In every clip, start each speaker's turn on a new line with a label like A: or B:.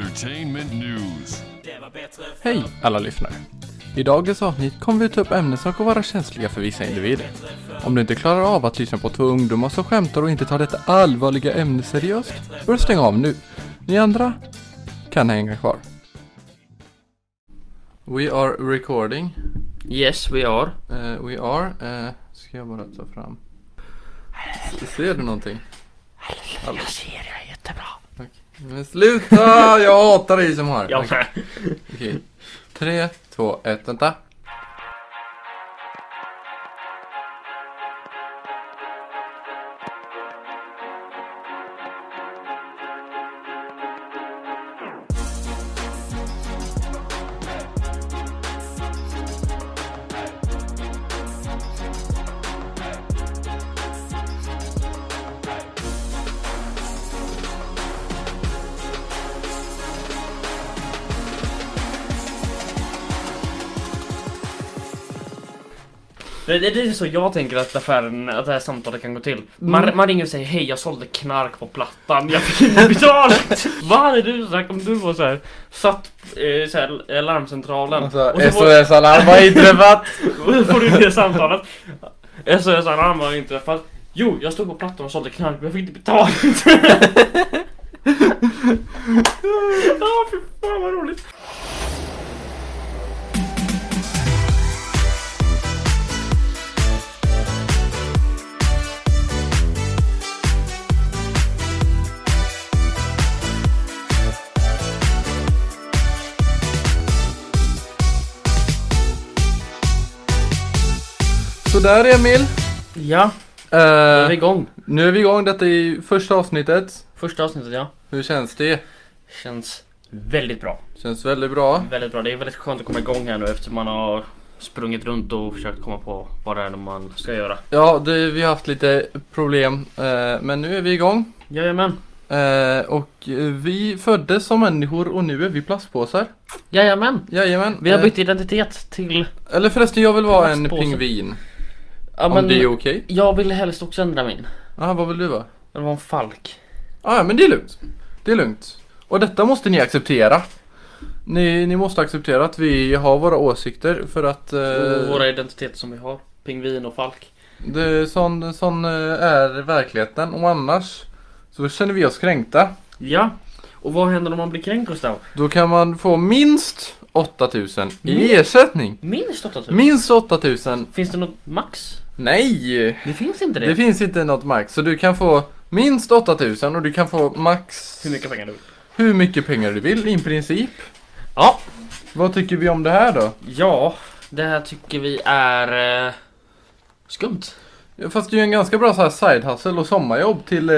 A: Entertainment News.
B: Hej alla lyssnare! I dagens avsnitt kommer vi ta upp ämnen som kan vara känsliga för vissa individer. Om du inte klarar av att lyssna på två ungdomar som skämtar och inte tar detta allvarliga ämne seriöst, bör stänga av nu. Ni andra kan hänga kvar. We are recording.
C: Yes, we are.
B: Eh, we are. eh, ska jag bara ta fram. Ser du någonting?
C: Jag ser det jättebra.
B: Men sluta! Jag hatar dig som har.
C: Jag
B: Okej.
C: med.
B: Okej. Tre, två, ett, vänta.
C: Det, det, det är så jag tänker att affären, att det här samtalet kan gå till. Man, man ringer och säger hej, jag sålde knark på Plattan, jag fick inte betalt. Vad hade du sagt om du var så här, satt eh, så här, eh, larmcentralen
B: Alltså,
C: och, så får,
B: SOS Alarm har inträffat!
C: och så får du det samtalet. SOS Alarm har inträffat. Jo, jag stod på Plattan och sålde knark men jag fick inte betalt. Ja, fy fan vad roligt.
B: Sådär Emil!
C: Ja, då är vi
B: Eh,
C: igång.
B: nu är vi igång, detta är första avsnittet.
C: Första avsnittet ja.
B: Hur känns det?
C: Känns väldigt bra.
B: Känns väldigt bra.
C: Väldigt bra. Det är väldigt skönt att komma igång här nu efter man har sprungit runt och försökt komma på vad det är man ska göra.
B: Ja, det, vi har haft lite problem, eh, men nu är vi igång.
C: Jajamän.
B: Eh, och eh, vi föddes som människor och nu är vi plastpåsar.
C: Jajamän.
B: Jajamän.
C: Vi har
B: eh,
C: bytt identitet till...
B: Eller förresten, jag vill vara en
C: Plastpåse.
B: pingvin.
C: Ja,
B: Om det är okej?
C: jag ville helst också ändra min.
B: Ah, vad vill du vara?
C: Det var en falk.
B: Ah, ja, men det är lugnt. Det är lugnt. Och detta måste ni acceptera. Ni, ni måste acceptera att vi har våra åsikter för att... eh,
C: Och våra identiteter som vi har. Pingvin och falk.
B: Det är sån, sån eh, är verkligheten och annars så känner vi oss kränkta.
C: Ja. Och vad händer om man blir kränkt Gustav?
B: Då kan man få minst 8000 i
C: Mm.
B: ersättning.
C: Minst 8000?
B: Minst 8000.
C: Finns det något max?
B: Nej!
C: Det finns inte det.
B: Det finns inte något max så du kan få minst 8000 och du kan få max
C: Hur mycket pengar du vill.
B: hur mycket pengar du vill i princip.
C: Ja.
B: Vad tycker vi om det här då?
C: Ja. Det här tycker vi är... Eh, skumt.
B: Ja, Fast det är ju en ganska bra så här side hustle och sommarjobb till eh,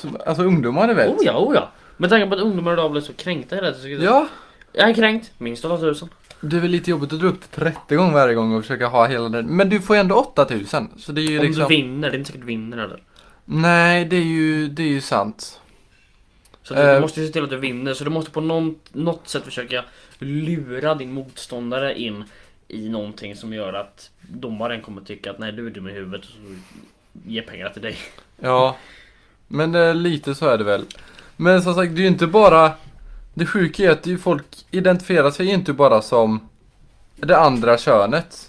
B: som- alltså ungdomar du vet.
C: Oh ja, oh ja. Med tanke på att ungdomar idag blir så kränkta hela tiden.
B: ja.
C: Jag är kränkt, minst 8000.
B: Det är väl lite jobbigt att dra upp till 30 gånger varje gång och försöka ha hela den. Men du får ju ändå 8000. Så det är ju
C: Om
B: liksom...
C: du vinner, det är inte säkert du vinner eller.
B: Nej, det är ju, det är ju sant.
C: Så du
B: Eh.
C: måste ju se till att du vinner, så du måste på någon, något sätt försöka lura din motståndare in i någonting som gör att domaren kommer tycka att nej du är dum i huvudet och så ge pengarna till dig.
B: Ja. Men eh, lite så är det väl. Men som sagt, det är ju inte bara... Det sjuka är att det är ju folk identifierar sig ju inte bara som det andra könet.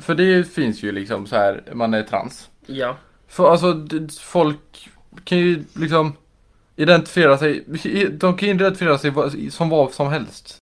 B: För det finns ju liksom så här, man är trans.
C: Ja.
B: För alltså, det- folk kan ju liksom identifiera sig, de kan ju identifiera sig vad- som vad som helst.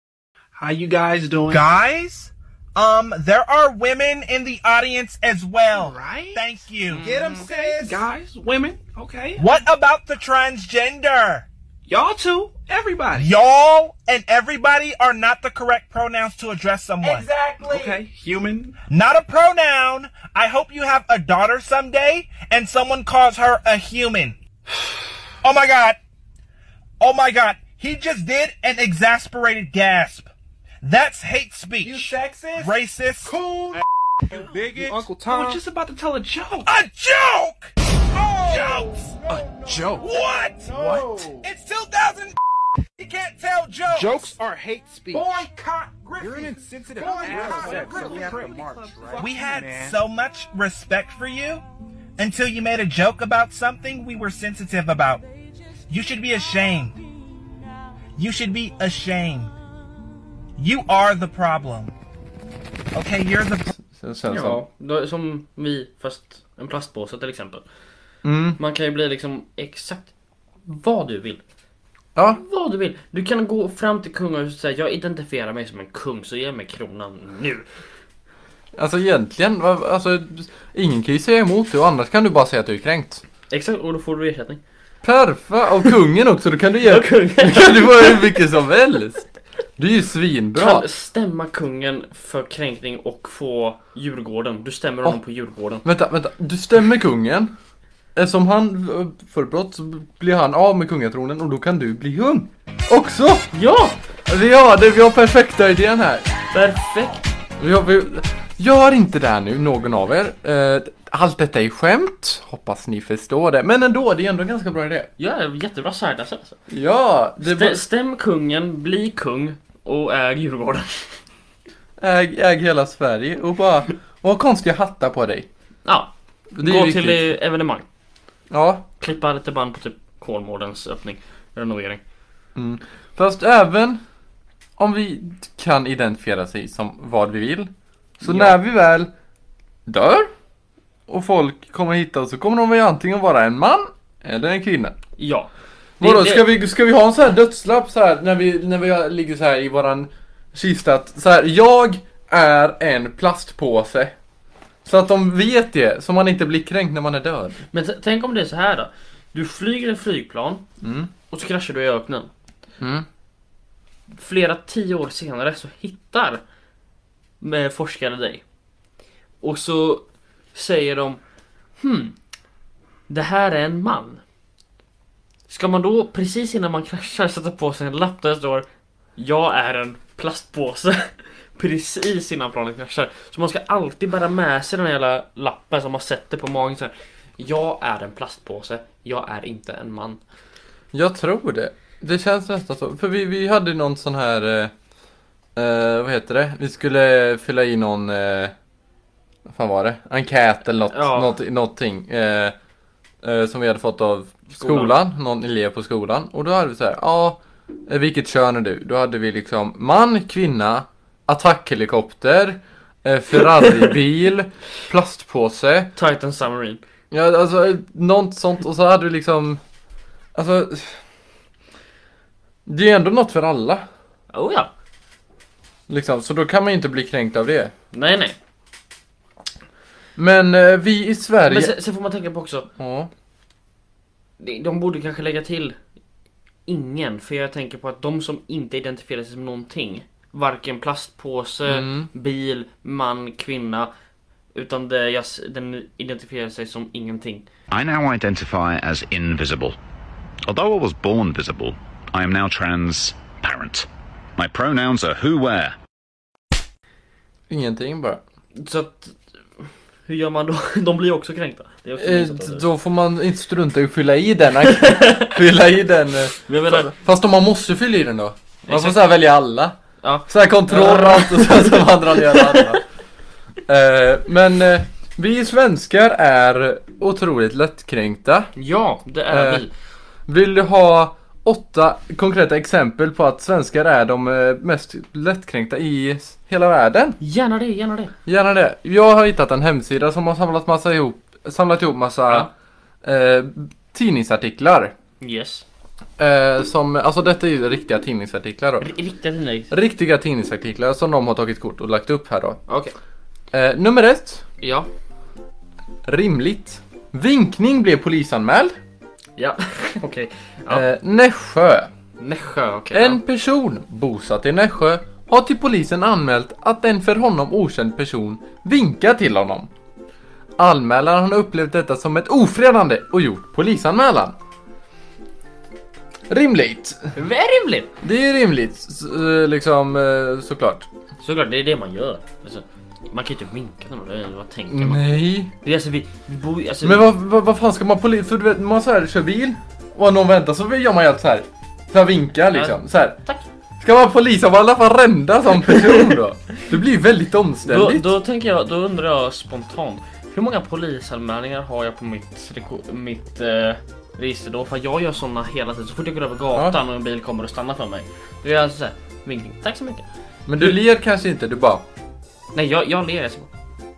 D: How you guys doing?
E: Guys, um, there are women in the audience as well.
D: Right.
E: Thank you. Mm. Get 'em, sis.
D: Guys, women, okay.
E: What about the transgender?
D: Y'all too. Everybody.
E: Y'all and everybody are not the correct pronouns to address someone. Exactly.
D: Okay. Human.
E: Not a pronoun. I hope you have a daughter someday and someone calls her a human. Oh my god. Oh my god. He just did an exasperated gasp. That's hate speech. You sexist. Racist. Cool.
D: Uncle Tom. I was just about to tell a joke.
E: A joke!
F: Oh,
E: Jokes!
D: A joke.
E: What?
D: What?
E: It's 2000. You can't tell jokes.
F: Jokes are hate speech.
E: Boycott Griffin.
F: You're an insensitive
E: Boycott
F: asshole, so
E: Griffin.
F: we have to march, right?
E: We had
F: Man.
E: so much respect for you until you made a joke about something we were sensitive about. You should be ashamed. You should be ashamed. You are the problem. Okay, you're the pro-
B: Sen, sen,
C: Ja, då- som vi, fast en plastpåse till exempel.
B: Mm.
C: Man kan ju bli liksom exakt vad du vill.
B: Ja.
C: Vad du vill. Du kan gå fram till kungahuset och säga jag identifierar mig som en kung så ge mig kronan nu.
B: Alltså egentligen, va- alltså, ingen kan ju säga emot det och annars kan du bara säga att du är kränkt.
C: Exakt, och då får du ersättning.
B: Perfa! Av kungen också, då kan du ge...
C: Ja, kungen.
B: kan du vara hur mycket som helst! Du är ju svinbra!
C: Kan stämma kungen för kränkning och få Djurgården. Du stämmer honom
B: Ja.
C: på Djurgården.
B: Vänta, vänta, du stämmer kungen. Eftersom han eh, för brott så blir han av med kungatronen och då kan du bli kung. Också!
C: Ja!
B: Vi har det, vi har perfekta idén här.
C: Perfekt!
B: Vi har, vi, gör inte det här nu, någon av er. Eh, allt detta är skämt. Hoppas ni förstår det. Men ändå, det är ändå en ganska bra idé.
C: Ja, jättebra särdas alltså.
B: Ja, det
C: Stä- Stäm kungen, bli kung och äg Djurgården.
B: äg, äg hela Sverige och bara... Och ha konstiga hattar på dig.
C: Ja,
B: Det är
C: gå
B: viktigt.
C: till eh, evenemang.
B: Ja,
C: klippa lite band på typ Kolmårdens öppning, renovering.
B: Fast även om vi kan identifiera sig som vad vi vill. Så
C: Ja.
B: när vi väl dör och folk kommer hitta oss så kommer de väl antingen vara en man eller en kvinna.
C: Ja. Det-
B: Vadå,
C: det-
B: ska vi, ska vi ha en sån här dödslapp så här när vi, när vi ligger så här i våran kista? Att, så här, jag är en plastpåse. Så att de vet det, så man inte blir kränkt när man är död.
C: Men t- tänk om det är så här då. Du flyger ett flygplan och så kraschar du i öknen.
B: Mm.
C: Flera tio år senare så hittar med forskare dig. Och så säger de Hmm, det här är en man. Ska man då precis innan man kraschar sätta på sig en lapp där det står Jag är en plastpåse. precis innan planet kraschar. Så man ska alltid bära med sig den här jävla lappen som man sätter på magen så här. Jag är en plastpåse, jag är inte en man.
B: Jag tror det. Det känns nästan så. För vi, vi hade någon sån här... Eh, eh, vad heter det? Vi skulle fylla i någon... Eh, vad fan var det? Enkät eller något,
C: Ja.
B: något, någonting. Eh, eh, som vi hade fått av skolan.
C: Skolan.
B: Någon elev på skolan. Och då hade vi så här. Ja, eh, vilket kön är du? Då hade vi liksom man, kvinna, attackhelikopter, eh, Ferraribil, plastpåse.
C: Titan Submarine.
B: Ja, alltså något sånt och så hade du liksom Alltså Det är ändå något för alla
C: Oh ja.
B: liksom, så då kan man ju inte bli kränkt av det
C: Nej nej. Men
B: Men eh, vi i Sverige
C: sen, sen får man tänka på också,
B: ja.
C: de de borde kanske lägga till ingen. För jag tänker på att de som inte identifierar sig som någonting. Varken plastpåse,
B: Mm.
C: bil, man, kvinna. Utan det, jag, s- den identifierar sig som ingenting.
G: I now identify as invisible. Although I was born visible, I am now transparent. My pronouns are who, where.
B: Ingenting bara
C: Så att, hur gör man då? De blir ju också kränkta. Det är också
B: eh,
C: minst att-
B: Då får man inte strunta i att fylla i den Fylla i den eh.
C: Men jag menar,
B: Fast om man måste fylla i den då Man får
C: Exakt.
B: så här välja alla
C: Ja.
B: Så här kontroll och allt och sen så vandrar ni alla andra eh, Men eh, vi svenskar är otroligt lättkränkta
C: ja det är
B: Eh,
C: vi.
B: Vill du ha åtta konkreta exempel på att svenskar är de eh, mest lättkränkta i s- hela världen?
C: Gärna det, gärna det.
B: Gärna det. Jag har hittat en hemsida som har samlat, massa ihop, samlat ihop massa eh, tidningsartiklar.
C: Yes.
B: Eh, som, alltså detta är ju riktiga tidningsartiklar då.
C: R- riktiga nej.
B: Riktiga tidningsartiklar som de har tagit kort och lagt upp här då.
C: Okej.
B: Eh, nummer ett.
C: Ja.
B: Rimligt. Vinkning blev polisanmäld.
C: Ja. Okej. Ja.
B: Eh, Nässjö.
C: Nässjö, okej.
B: En person bosatt i Nässjö har till polisen anmält att en för honom okänd person vinkar till honom. Anmälaren har upplevt detta som ett ofredande och gjort polisanmälan. Rimligt.
C: Ja. Det är rimligt.
B: Det är rimligt, s- eh, liksom eh, såklart.
C: Såklart, det är det man gör. Alltså, man kan ju inte vinka till någon, det är- vad tänker man?
B: Nej.
C: Det är alltså vi, vi bor ju- alltså,
B: Men vad, vad, vad fan ska man polis... För du vet, när man så här kör bil och någon väntar så gör man ju alltid så här. Så här vinkar liksom. Så här.
C: Tack.
B: Ska man polisanmäla varenda som person då? Det blir ju väldigt
C: Då,
B: omständligt.
C: då tänker jag, då undrar jag spontant. Hur många polisanmälningar har jag på mitt, reko- mitt eh, register då. För jag gör såna hela tiden. Så fort jag går över gatan och en bil kommer och stannar för mig. Då gör jag alltså såhär, vinkning, tack så mycket.
B: Men du ler kanske inte, du bara
C: Nej jag, jag ler. Så.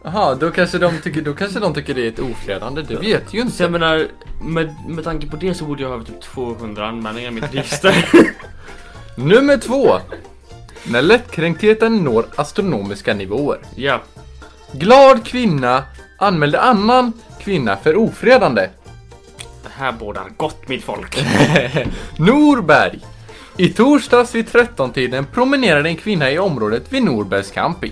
B: Jaha, då kanske de tycker, då kanske de tycker det är ett ofredande, du vet ju
C: så
B: inte.
C: jag menar, med, med tanke på det så borde jag ha typ 200 anmälningar i mitt register.
B: Nummer två! När lättkränktheten når astronomiska nivåer.
C: ja.
B: Glad kvinna anmälde annan kvinna för ofredande.
C: Det här bådar gott mitt folk.
B: Norberg! I torsdags vid 13-tiden promenerade en kvinna i området vid Norbergs camping.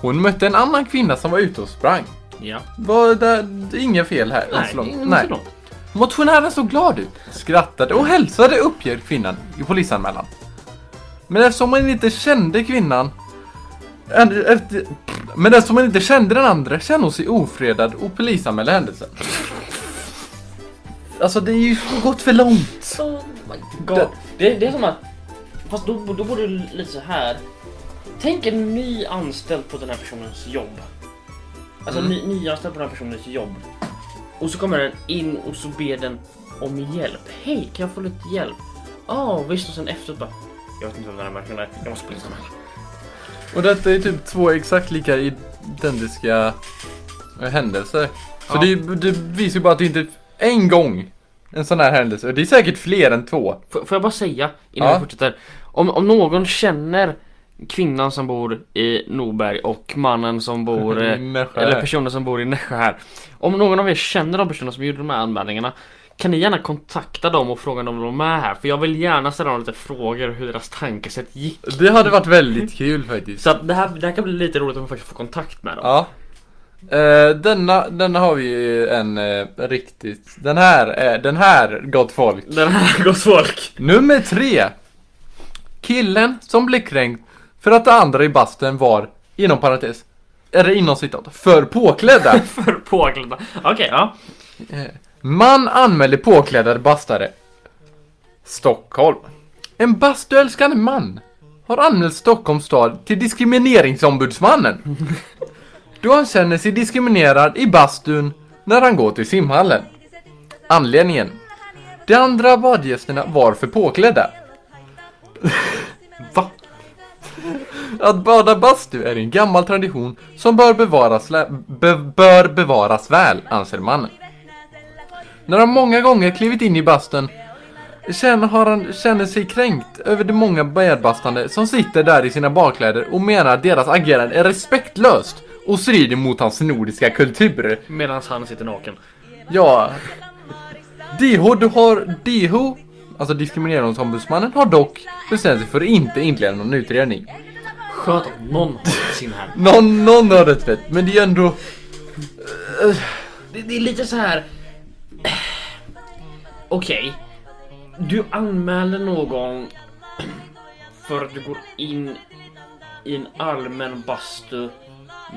B: Hon mötte en annan kvinna som var ute och sprang.
C: ja.
B: Var det inga fel här?
C: Nej,
B: Så långt.
C: inte
B: Nej.
C: så långt.
B: Motionären såg glad ut, skrattade och hälsade uppger kvinnan i polisanmälan. Men eftersom man inte kände kvinnan... en- Efter, men eftersom man inte kände den andra kände hon sig ofredad och polisanmälde händelsen. Alltså det är ju gått för långt.
C: Oh my god. Det, det är som att... Fast då, då borde du lite så här. Tänk en ny anställd på den här personens jobb. Alltså ny, ny anställd på den här personens jobb. Och så kommer den in och så ber den om hjälp. Hej, kan jag få lite hjälp? Ja, visst. Och sen efteråt bara... Jag vet inte vem den här människan är. Jag måste polisanmäla.
B: Och detta är typ två exakt lika identiska eh, händelser. Så det, det visar ju bara att det inte är en gång en sån här händelse. Och det är säkert fler än två.
C: Får, får jag bara säga innan
B: Ja.
C: vi fortsätter. Om, om någon känner kvinnan som bor i Norberg och mannen som bor eh,
B: I Nässjö.
C: eller personen som bor i Nässjö här. Om någon av er känner de personer som gjorde de här anmälningarna kan ni gärna kontakta dem och fråga om de är här för jag vill gärna ställa dem lite frågor hur deras tankesätt gick.
B: Det hade varit väldigt kul faktiskt.
C: Så att det, här, det här kan bli lite roligt om vi faktiskt får kontakt med dem.
B: Ja. Eh, denna, denna har vi ju en eh, riktigt... Den här, är den här gott folk.
C: Den här gott folk.
B: Nummer tre. Killen som blev kränkt för att de andra i bastun var, inom parentes, eller inom citat, för påklädda.
C: För påklädda. Okej, ja.
B: Man anmälde påklädda bastare. Stockholm. En bastuälskande man har anmält Stockholms stad till diskrimineringsombudsmannen. Då han känner sig diskriminerad i bastun när han går till simhallen. Anledningen? De andra badgästerna var för påklädda. Va? Att bada bastu är en gammal tradition som bör bevaras, lä- be- bör bevaras väl, anser mannen. När han många gånger klivit in i bastun känner, har han, känner sig kränkt över de många medbastande som sitter där i sina badkläder och menar att deras agerande är respektlöst och strider mot hans nordiska kultur.
C: Medan han sitter naken.
B: Ja. DH, du har DH, alltså diskrimineringsombudsmannen, har dock bestämt sig för att inte inleda någon utredning.
C: Skönt att någon har sin här.
B: Någon, någon har rätt vet, men det är ändå...
C: Det, det är lite så här. Okej. Du anmäler någon för att du går in i en allmän bastu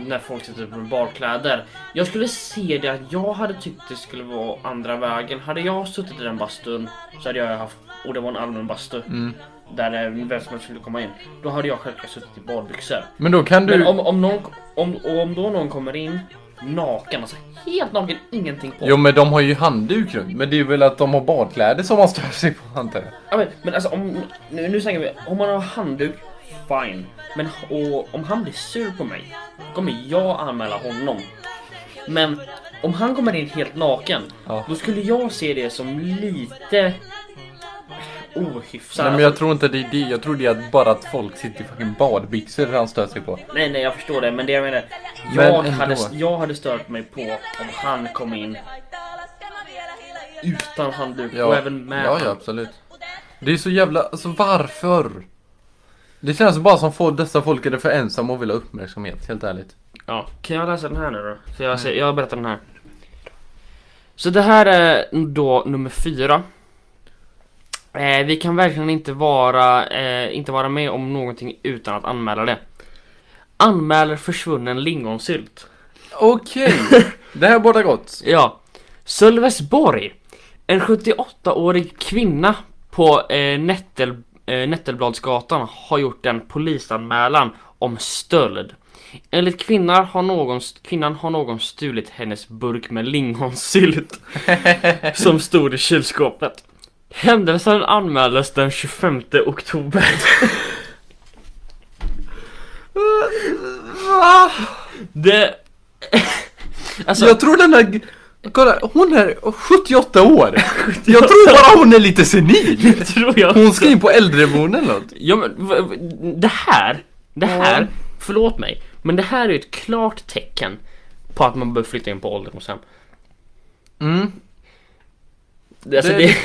C: när folk sitter på barkläder. Jag skulle se det att jag hade tyckt det skulle vara andra vägen. Hade jag suttit i den bastun så hade jag haft, och det var en allmän bastu. Där eh, vem som helst skulle komma in. Då hade jag självklart suttit i badbyxor.
B: Men då kan du...
C: Men om, om, någon, om, och om då någon kommer in naken, alltså helt naken, ingenting på.
B: Jo men de har ju handduk runt, men det är väl att de har badkläder som man stör sig på antar jag.
C: Ja, men, men alltså om, nu, nu snackar vi, om man har handduk, fine. Men och, om han blir sur på mig, då kommer jag anmäla honom. Men om han kommer in helt naken,
B: Ja.
C: då skulle jag se det som lite ohyfsat.
B: Nej men jag tror inte det är det, jag tror det är att bara att folk sitter i fucking badbyxor han stör sig på.
C: Nej, nej, jag förstår det, men det jag menar.
B: Men
C: Jag,
B: ändå.
C: hade, jag hade stört mig på om han kom in utan handduk och även med
B: ja, ja
C: handduk.
B: absolut. Det är så jävla, alltså varför? Det känns bara som får dessa folk är det för ensamma och vill ha uppmärksamhet, helt ärligt.
C: Ja, kan jag läsa den här nu då? Så
B: Mm.
C: jag, ser, jag berättar den här. Så det här är då nummer fyra. Eh, vi kan verkligen inte vara, eh, inte vara med om någonting utan att anmäla det. Anmäler försvunnen lingonsylt.
B: Okej, det här båda gott.
C: Ja. Sölvesborg. En 78-årig kvinna på eh, Nättel, eh, Nättelbladsgatan har gjort en polisanmälan om stöld Enligt kvinnan har någon, kvinnan har någon stulit hennes burk med lingonsylt som stod i kylskåpet. Händelsen anmäldes den 25 oktober. Det... Ah! Alltså,
B: Jag tror den där... Kolla, hon är 78 år! Jag tror bara hon är lite senil!
C: det tror jag.
B: Hon ska in på äldreboende eller något.
C: Ja men v- v- det här, det här, förlåt mig, men det här är ju ett klart tecken på att man bör flytta in på ålderdomshem.
B: Mm.
C: Det, alltså
B: Det-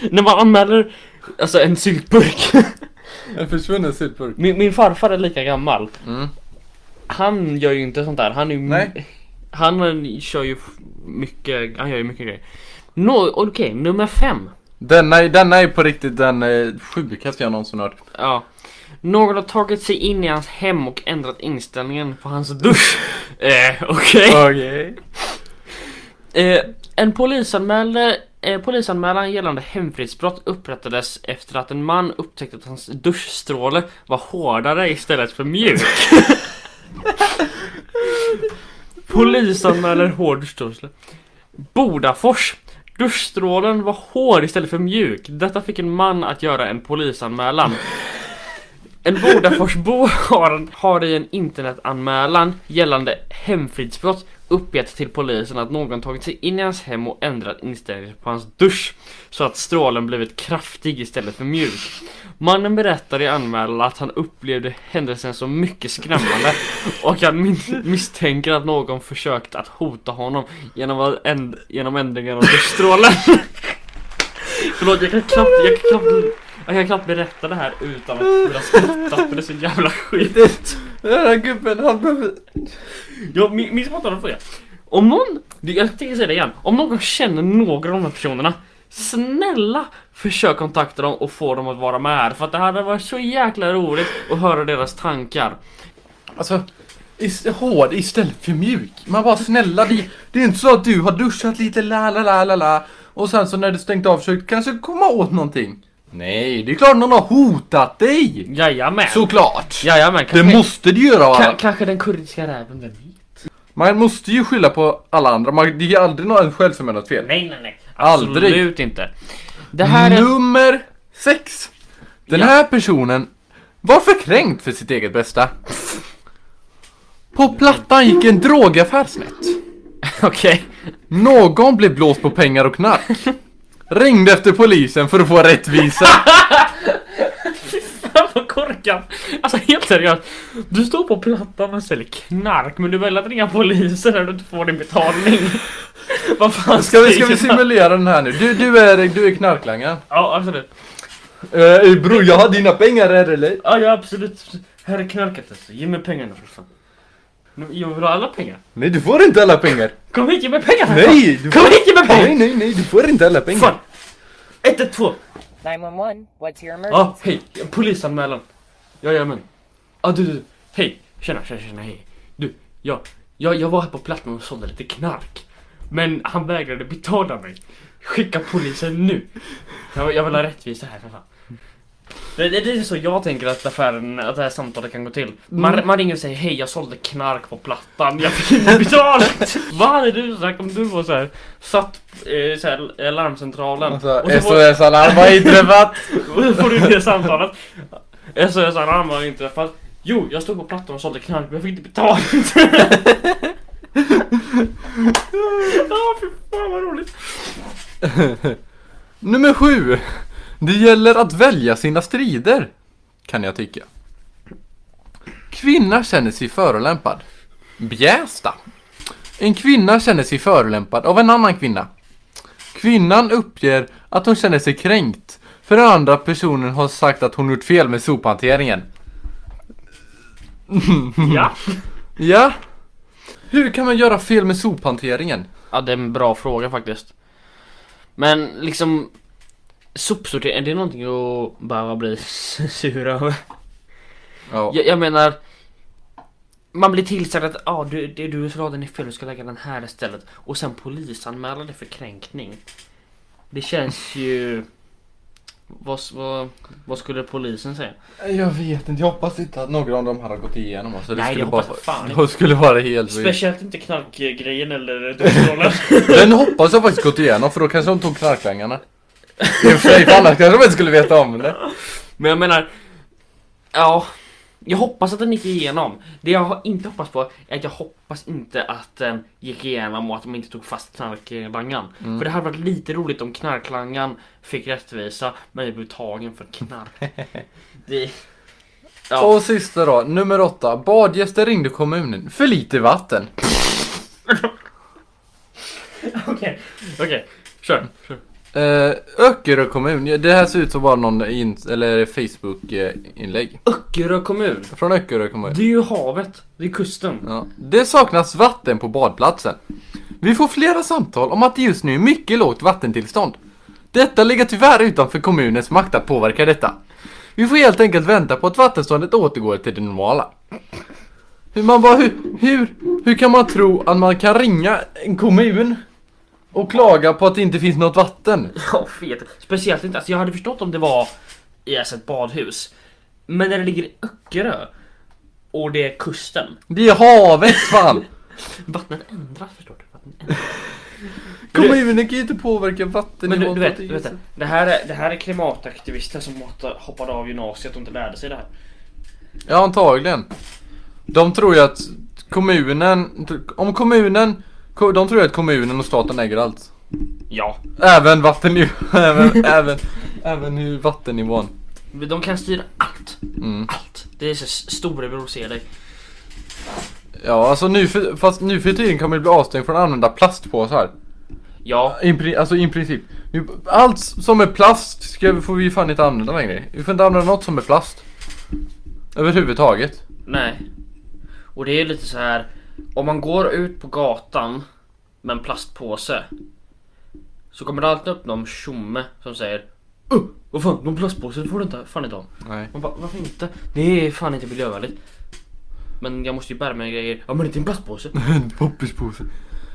C: det, när man anmäler alltså en syltburk.
B: En försvunnen syltburk.
C: min, min farfar är lika gammal. Han gör ju inte sånt där, han är ju...
B: Mm. Nej.
C: Han eh, kör ju f- mycket, han gör ju mycket grejer. Nå, okej, nummer fem.
B: Denna, är- denna är på riktigt den eh, sjukaste jag någonsin hört.
C: Ja. Någon har tagit sig in i hans hem och ändrat inställningen på hans dusch. eh, okej.
B: Okej.
C: Eh, en polisanmälde, eh, polisanmälan gällande hemfridsbrott upprättades efter att en man upptäckte att hans duschstråle var hårdare istället för mjuk. Polisanmäler hård duschstråle. Bodafors. Duschstrålen var hård istället för mjuk. Detta fick en man att göra en polisanmälan. En Bodaforsbo har, en- har i en internetanmälan gällande hemfridsbrott uppgett till polisen att någon tagit sig in i hans hem och ändrat inställningen på hans dusch så att strålen blivit kraftig istället för mjuk. Mannen berättar i anmälan att han upplevde händelsen som mycket skrämmande och han min- misstänker att någon försökt att hota honom genom, att änd- genom ändringen av duschstrålen. Förlåt, jag kan knappt, jag kan knappt, jag kan knappt berätta det här utan att börja skratta för det är så jävla skit.
B: Den här gubben, han behöver...
C: Jag, min, min spontana fråga. Om någon, jag tänker säga det igen, om någon känner några av de här personerna Snälla försök kontakta dem och få dem att vara med här för att det hade varit så jäkla roligt att höra deras tankar.
B: Alltså, is- hård istället för mjuk. Man bara snälla, det, det är inte så att du har duschat lite la la la la la och sen så när du stängt av försökt kanske komma åt någonting. Nej, det är klart någon har hotat dig!
C: Jajamän!
B: Såklart!
C: Jajamän!
B: Det
C: Kanske,
B: måste du göra va?
C: ka, kanske den kurdiska räven, vem vet?
B: Man måste ju skylla på alla andra, man, det är aldrig någon själv som gör något fel.
C: Nej nej nej!
B: Aldrig.
C: Absolut inte! Det här är...
B: Nummer sex. Den
C: Ja.
B: här personen var förkränkt för sitt eget bästa. På plattan gick en drogaffär snett.
C: Okej.
B: Någon blev blåst på pengar och knark. Ringde efter polisen för att få rättvisa.
C: Fan vad korkad! Alltså helt seriöst, du står på plattan och säljer knark men du väljer att ringa polisen när du inte får din betalning. vad fan
B: Ska vi, ska
C: säger
B: vi
C: man?
B: simulera den här nu? Du, du är, du är knarklangaren.
C: Ja absolut.
B: Uh, bror, jag har dina pengar här eller?
C: Ja, ja absolut. Här är knarket alltså. Ge mig pengarna för fan. Nu- Jag vill ha alla pengar.
B: Nej, du får inte alla pengar.
C: Kom hit, ge mig pengarna! för fan.
B: Nej! Du
C: Kom
B: får...
C: hit, ge mig
B: Nej,
C: pengarna!
B: nej, nej, du får inte alla pengar.
C: Fan! 112!
H: 911, what's your emergency?
C: Ja, hej! Polisanmälan! Jajamän! Ja, du, du, hej! Tjena, tjena, tjena, hej! Du, jag, jag, jag var här på plattan och sålde lite knark. Men han vägrade betala mig. Skicka polisen nu! Jag, jag vill ha rättvisa här för fan. Det, det, det är så jag tänker att affären, att det här samtalet kan gå till. Man, man ringer och säger hej jag sålde knark på plattan, jag fick inte betalt! Vad hade du sagt om du var såhär, satt eh, såhär, eh, larmcentralen
B: Alltså,
C: och så får-
B: SOS Alarm har inträffat.
C: och då får du det samtalet. SOS Alarm har inträffat. Jo, jag stod på plattan och sålde knark men jag fick inte betalt. Ja, fy fan vad roligt.
B: Nummer sju. Det gäller att välja sina strider, kan jag tycka. Kvinna känner sig förolämpad. Bjästa. En kvinna känner sig förolämpad av en annan kvinna. Kvinnan uppger att hon känner sig kränkt för den andra personen har sagt att hon gjort fel med sophanteringen.
C: Ja.
B: Ja? Hur kan man göra fel med sophanteringen?
C: ja, det är en bra fråga faktiskt. Men liksom sopsortering, är det någonting att behöva bli sur över?
B: Ja.
C: Jag, jag menar man blir tillsagd att ah, du, det du raden är fel, du ska lägga den här istället. Och sen polisanmäla det för kränkning. Det känns ju... Vad, s- vad, vad skulle polisen säga?
B: Jag vet inte, jag hoppas inte att några av dem här har gått igenom oss. Det
C: Nej,
B: skulle
C: jag
B: bara,
C: hoppas fan inte.
B: De skulle vara helt...
C: Speciellt inte knarkgrejen eller domstolen.
B: Den hoppas jag faktiskt gått igenom för då kanske de tog knarklängarna. I och för sig, för annars kanske de inte skulle veta om det.
C: Men jag menar, ja. Jag hoppas att den gick igenom. Det jag har inte hoppas på är att jag hoppas inte att den gick igenom och att de inte tog fast knarklangaren. För det hade varit lite roligt om knarklangaren fick rättvisa men blev tagen för knark. det... Ja.
B: Och sista då, nummer åtta. Badgäster ringde kommunen. För lite vatten.
C: Okej, okej. Kör.
B: Eh, Öckerö kommun. Ja, Det här ser ut som bara någon in, eller Facebook eh, inlägg.
C: Öckerö kommun.
B: Från Öckerö kommun.
C: Det är ju havet. Det är kusten.
B: Ja. Det saknas vatten på badplatsen. Vi får flera samtal om att det just nu är mycket lågt vattentillstånd. Detta ligger tyvärr utanför kommunens makt att påverka detta. Vi får helt enkelt vänta på att vattenståndet återgår till det normala. Hur man bara, hur, hur, hur kan man tro att man kan ringa en kommun och klaga på att det inte finns något vatten?
C: Ja, fet. Speciellt inte, alltså jag hade förstått om det var i alltså, ett badhus. Men när det ligger i Öckerö och det är kusten.
B: Det är havet fan!
C: Vattnet ändras förstår du. Vattnet ändras.
B: Kommunen kan ju inte påverka
C: Men du,
B: vattennivån.
C: du
B: på
C: vet,
B: ett
C: du vet
B: sätt.
C: det. det, här är, det här är klimataktivister som åter- hoppade av gymnasiet och inte lärde sig det här.
B: Ja, antagligen. De tror ju att kommunen, om kommunen, de tror ju att kommunen och staten äger allt.
C: Ja,
B: Även vattennivån, även, även, även hur vattennivån.
C: men de kan styra allt. Allt. Det är så s- storebror ser dig.
B: Ja, alltså nu för, fast nu för tiden kan man ju bli avstängd från att använda plastpåsar.
C: Ja,
B: I, pri- alltså i princip. Nu- Allt som är plast ska, vi- får vi ju fan inte använda längre. Vi får inte använda något som är plast. Överhuvudtaget.
C: nej. Och det är lite så här. Om man går ut på gatan med en plastpåse. Så kommer det alltid upp någon tjomme som säger "Åh, Vad fan, någon plastpåse får du inte, fan inte ha.
B: Nej.
C: Man bara, varför inte? Det är fan inte miljövänligt. Men jag måste ju bära med grejer. Ja men det är en plastpåse.
B: En poppispåse.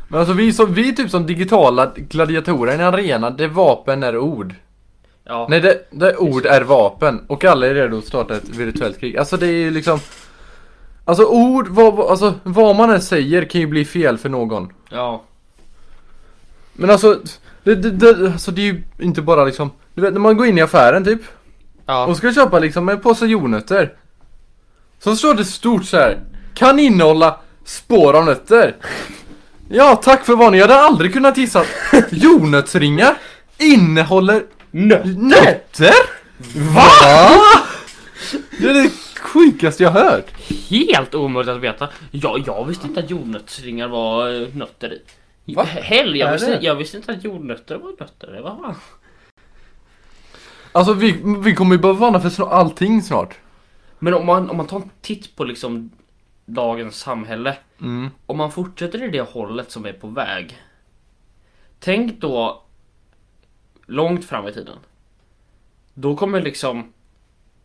B: Men alltså vi, som, vi är typ som digitala gladiatorer i en arena där vapen är ord.
C: Ja.
B: Nej, det, det ord är vapen och alla är redo att starta ett virtuellt krig. Alltså det är ju liksom... Alltså ord, vad, vad- alltså, vad man än säger kan ju bli fel för någon.
C: Ja.
B: Men alltså det, det, det, alltså, det är ju inte bara liksom... Du vet när man går in i affären typ
C: Ja.
B: och ska köpa liksom en påse jordnötter. Så står det stort så här. Kan innehålla spår av nötter. Ja, tack för varningen. Jag hade aldrig kunnat gissa att jordnötsringar innehåller
C: Nö.
B: nötter. Va? Det är det sjukaste jag hört.
C: Helt omöjligt att veta. Ja, jag visste inte att jordnötsringar var eh, nötter i.
B: Va?
C: Hell, jag
B: Är
C: visste,
B: det?
C: jag visste inte att jordnötter var nötter i. Vad fan?
B: Alltså vi, vi kommer ju behöva varna för snart, allting snart.
C: Men om man, om man tar en titt på liksom dagens samhälle. Om man fortsätter i det hållet som är på väg. Tänk då långt fram i tiden. Då kommer liksom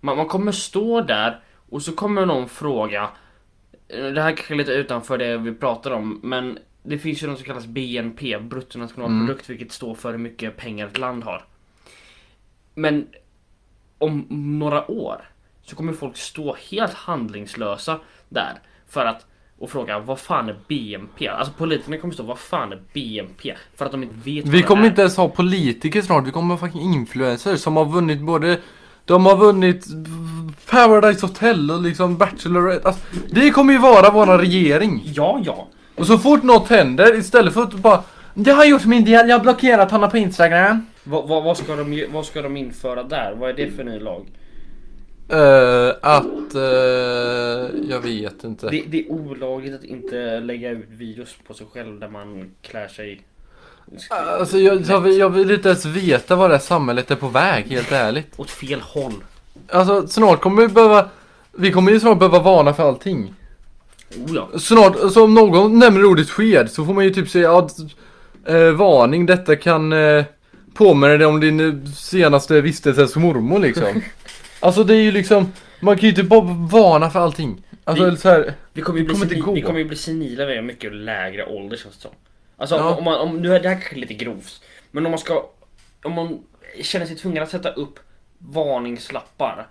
C: man, man kommer stå där och så kommer någon fråga. eh, Det här kanske är lite utanför det vi pratar om, men det finns ju något som kallas BNP, bruttonationalprodukt, vilket står för hur mycket pengar ett land har. Men om några år så kommer folk stå helt handlingslösa där för att och fråga vad fan är BNP? Alltså politikerna kommer stå vad fan är BNP? För att de inte vet vad
B: Vi
C: det
B: kommer
C: är.
B: inte ens ha politiker snart, vi kommer ha fucking influencers som har vunnit både De har vunnit Paradise Hotel och liksom Bachelorette alltså, Det kommer ju vara våran regering
C: Ja, ja.
B: Och så fort något händer istället för att bara Det har gjort min del, jag har blockerat honom på instagram
C: Vad, vad, vad, ska de, ju- vad ska de införa där? Vad är det för ny lag?
B: Eh, Att, eh, jag vet inte
C: Det, det är olagligt att inte lägga ut videos på sig själv där man klär sig.
B: Alltså jag, jag, vill, jag vill inte ens veta vad det här samhället är på väg, helt ärligt
C: Åt fel håll.
B: Alltså snart kommer vi behöva Vi kommer ju snart behöva varna för allting
C: Oh ja.
B: Snart, alltså om någon nämner ordet sked så får man ju typ säga att eh, varning, detta kan eh, påminna dig om din eh, senaste vistelse hos mormor liksom. alltså det är ju liksom, man kan ju inte bara varna för allting. Alltså
C: Vi-
B: så här,
C: Vi kommer ju
B: Det kommer
C: bli,
B: inte
C: senil,
B: gå.
C: vi kommer ju bli senila vid en mycket lägre ålder känns det som. Alltså
B: Ja.
C: om, om man, om, nu är det här kanske lite grovt. Men om man ska, om man känner sig tvungen att sätta upp varningslappar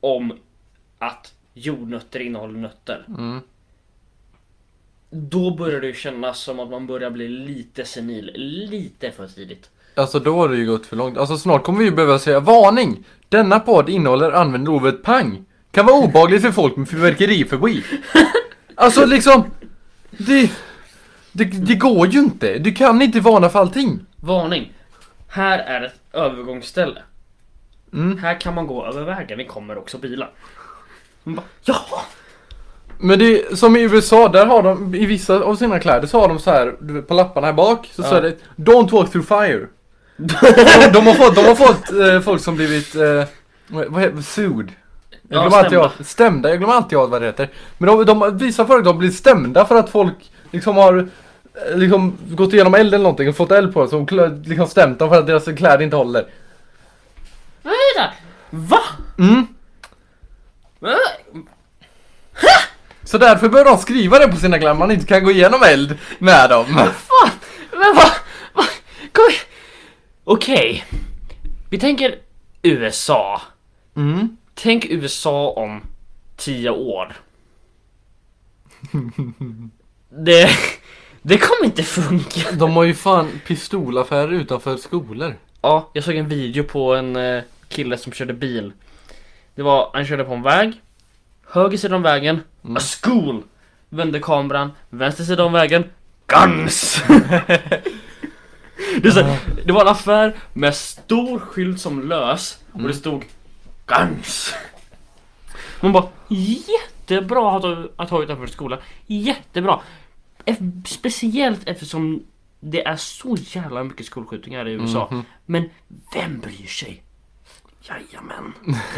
C: om att jordnötter innehåller nötter.
B: Mm.
C: Då börjar det ju kännas som att man börjar bli lite senil, lite för tidigt.
B: Alltså då har det ju gått för långt. Alltså snart kommer vi ju behöva säga varning! Denna podd innehåller använder ordet pang. Kan vara obehagligt för folk med fyrverkeriförbi. Alltså liksom, det, det, det går ju inte. Du kan inte varna för allting.
C: Varning! Här är ett övergångsställe.
B: Mm.
C: Här kan man gå över vägen, det kommer också bilar. Man bara, Jaha!
B: Men det är som i USA, där har de i vissa av sina kläder så har de så här du vet, på lapparna här bak så står det Don't walk through fire. de, de har fått, de har fått eh, folk som blivit eh, vad vad heter sued. Jag
C: Ja,
B: glömmer alltid
C: stämda.
B: av, stämda, jag glömmer alltid av vad det heter. Men de, de vissa företag blir stämda för att folk liksom har eh, liksom gått igenom eld eller någonting och fått eld på sig och klö- liksom stämt dem för att deras kläder inte håller.
C: Vad är det? Va?
B: Mm.
C: Va?
B: Så därför bör de skriva det på sina kläder, man inte kan gå igenom eld med dem.
C: Fan! Men vad? Va? Kom igen. Okej. Vi tänker USA.
B: Mm.
C: Tänk USA om 10 år. Det, det kommer inte funka.
B: De har ju fan pistolaffärer utanför skolor.
C: Ja, jag såg en video på en eh, kille som körde bil. Det var, han körde på en väg. Höger sida om vägen, a school. Vände kameran, vänster sida om vägen, guns. det, är så, det var en affär med stor skylt som lös och det stod guns. Man bara jättebra att ha, att ha utanför skolan. Jättebra. Eff, speciellt eftersom det är så jävla mycket skolskjutningar i USA. Men vem bryr sig? Jajamän,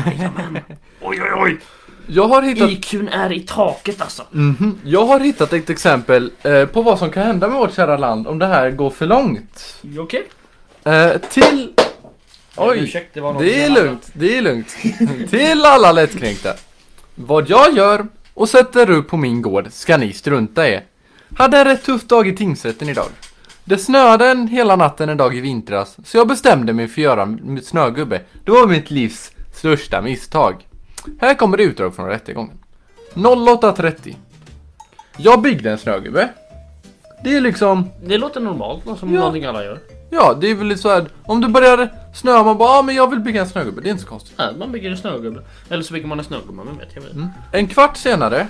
C: jajamän. Oj oj oj.
B: Jag har hittat,
C: IQn är i taket alltså.
B: jag har hittat ett exempel eh, på vad som kan hända med vårt kära land om det här går för långt.
C: Okej. Okay.
B: Eh, till... Oj,
C: Ursäkta, det var något
B: det är
C: annat.
B: lugnt, det är lugnt. till alla lättkränkta. Vad jag gör och sätter upp på min gård ska ni strunta i. Hade en rätt tuff dag i tingsrätten idag. Det snöade en hela natten en dag i vintras, så jag bestämde mig för att göra en snögubbe. Det var mitt livs största misstag. Här kommer det utdrag från rättegången. 08.30. Jag byggde en snögubbe. Det är liksom
C: Det låter normalt, något som
B: Ja.
C: någonting alla gör.
B: Ja, det är väl lite så här. Om du börjar snöa, man bara ah, men jag vill bygga en snögubbe. Det är inte så konstigt.
C: Nej, man bygger en snögubbe. Eller så bygger man en snögumma, vem vet? Jag vet.
B: En kvart senare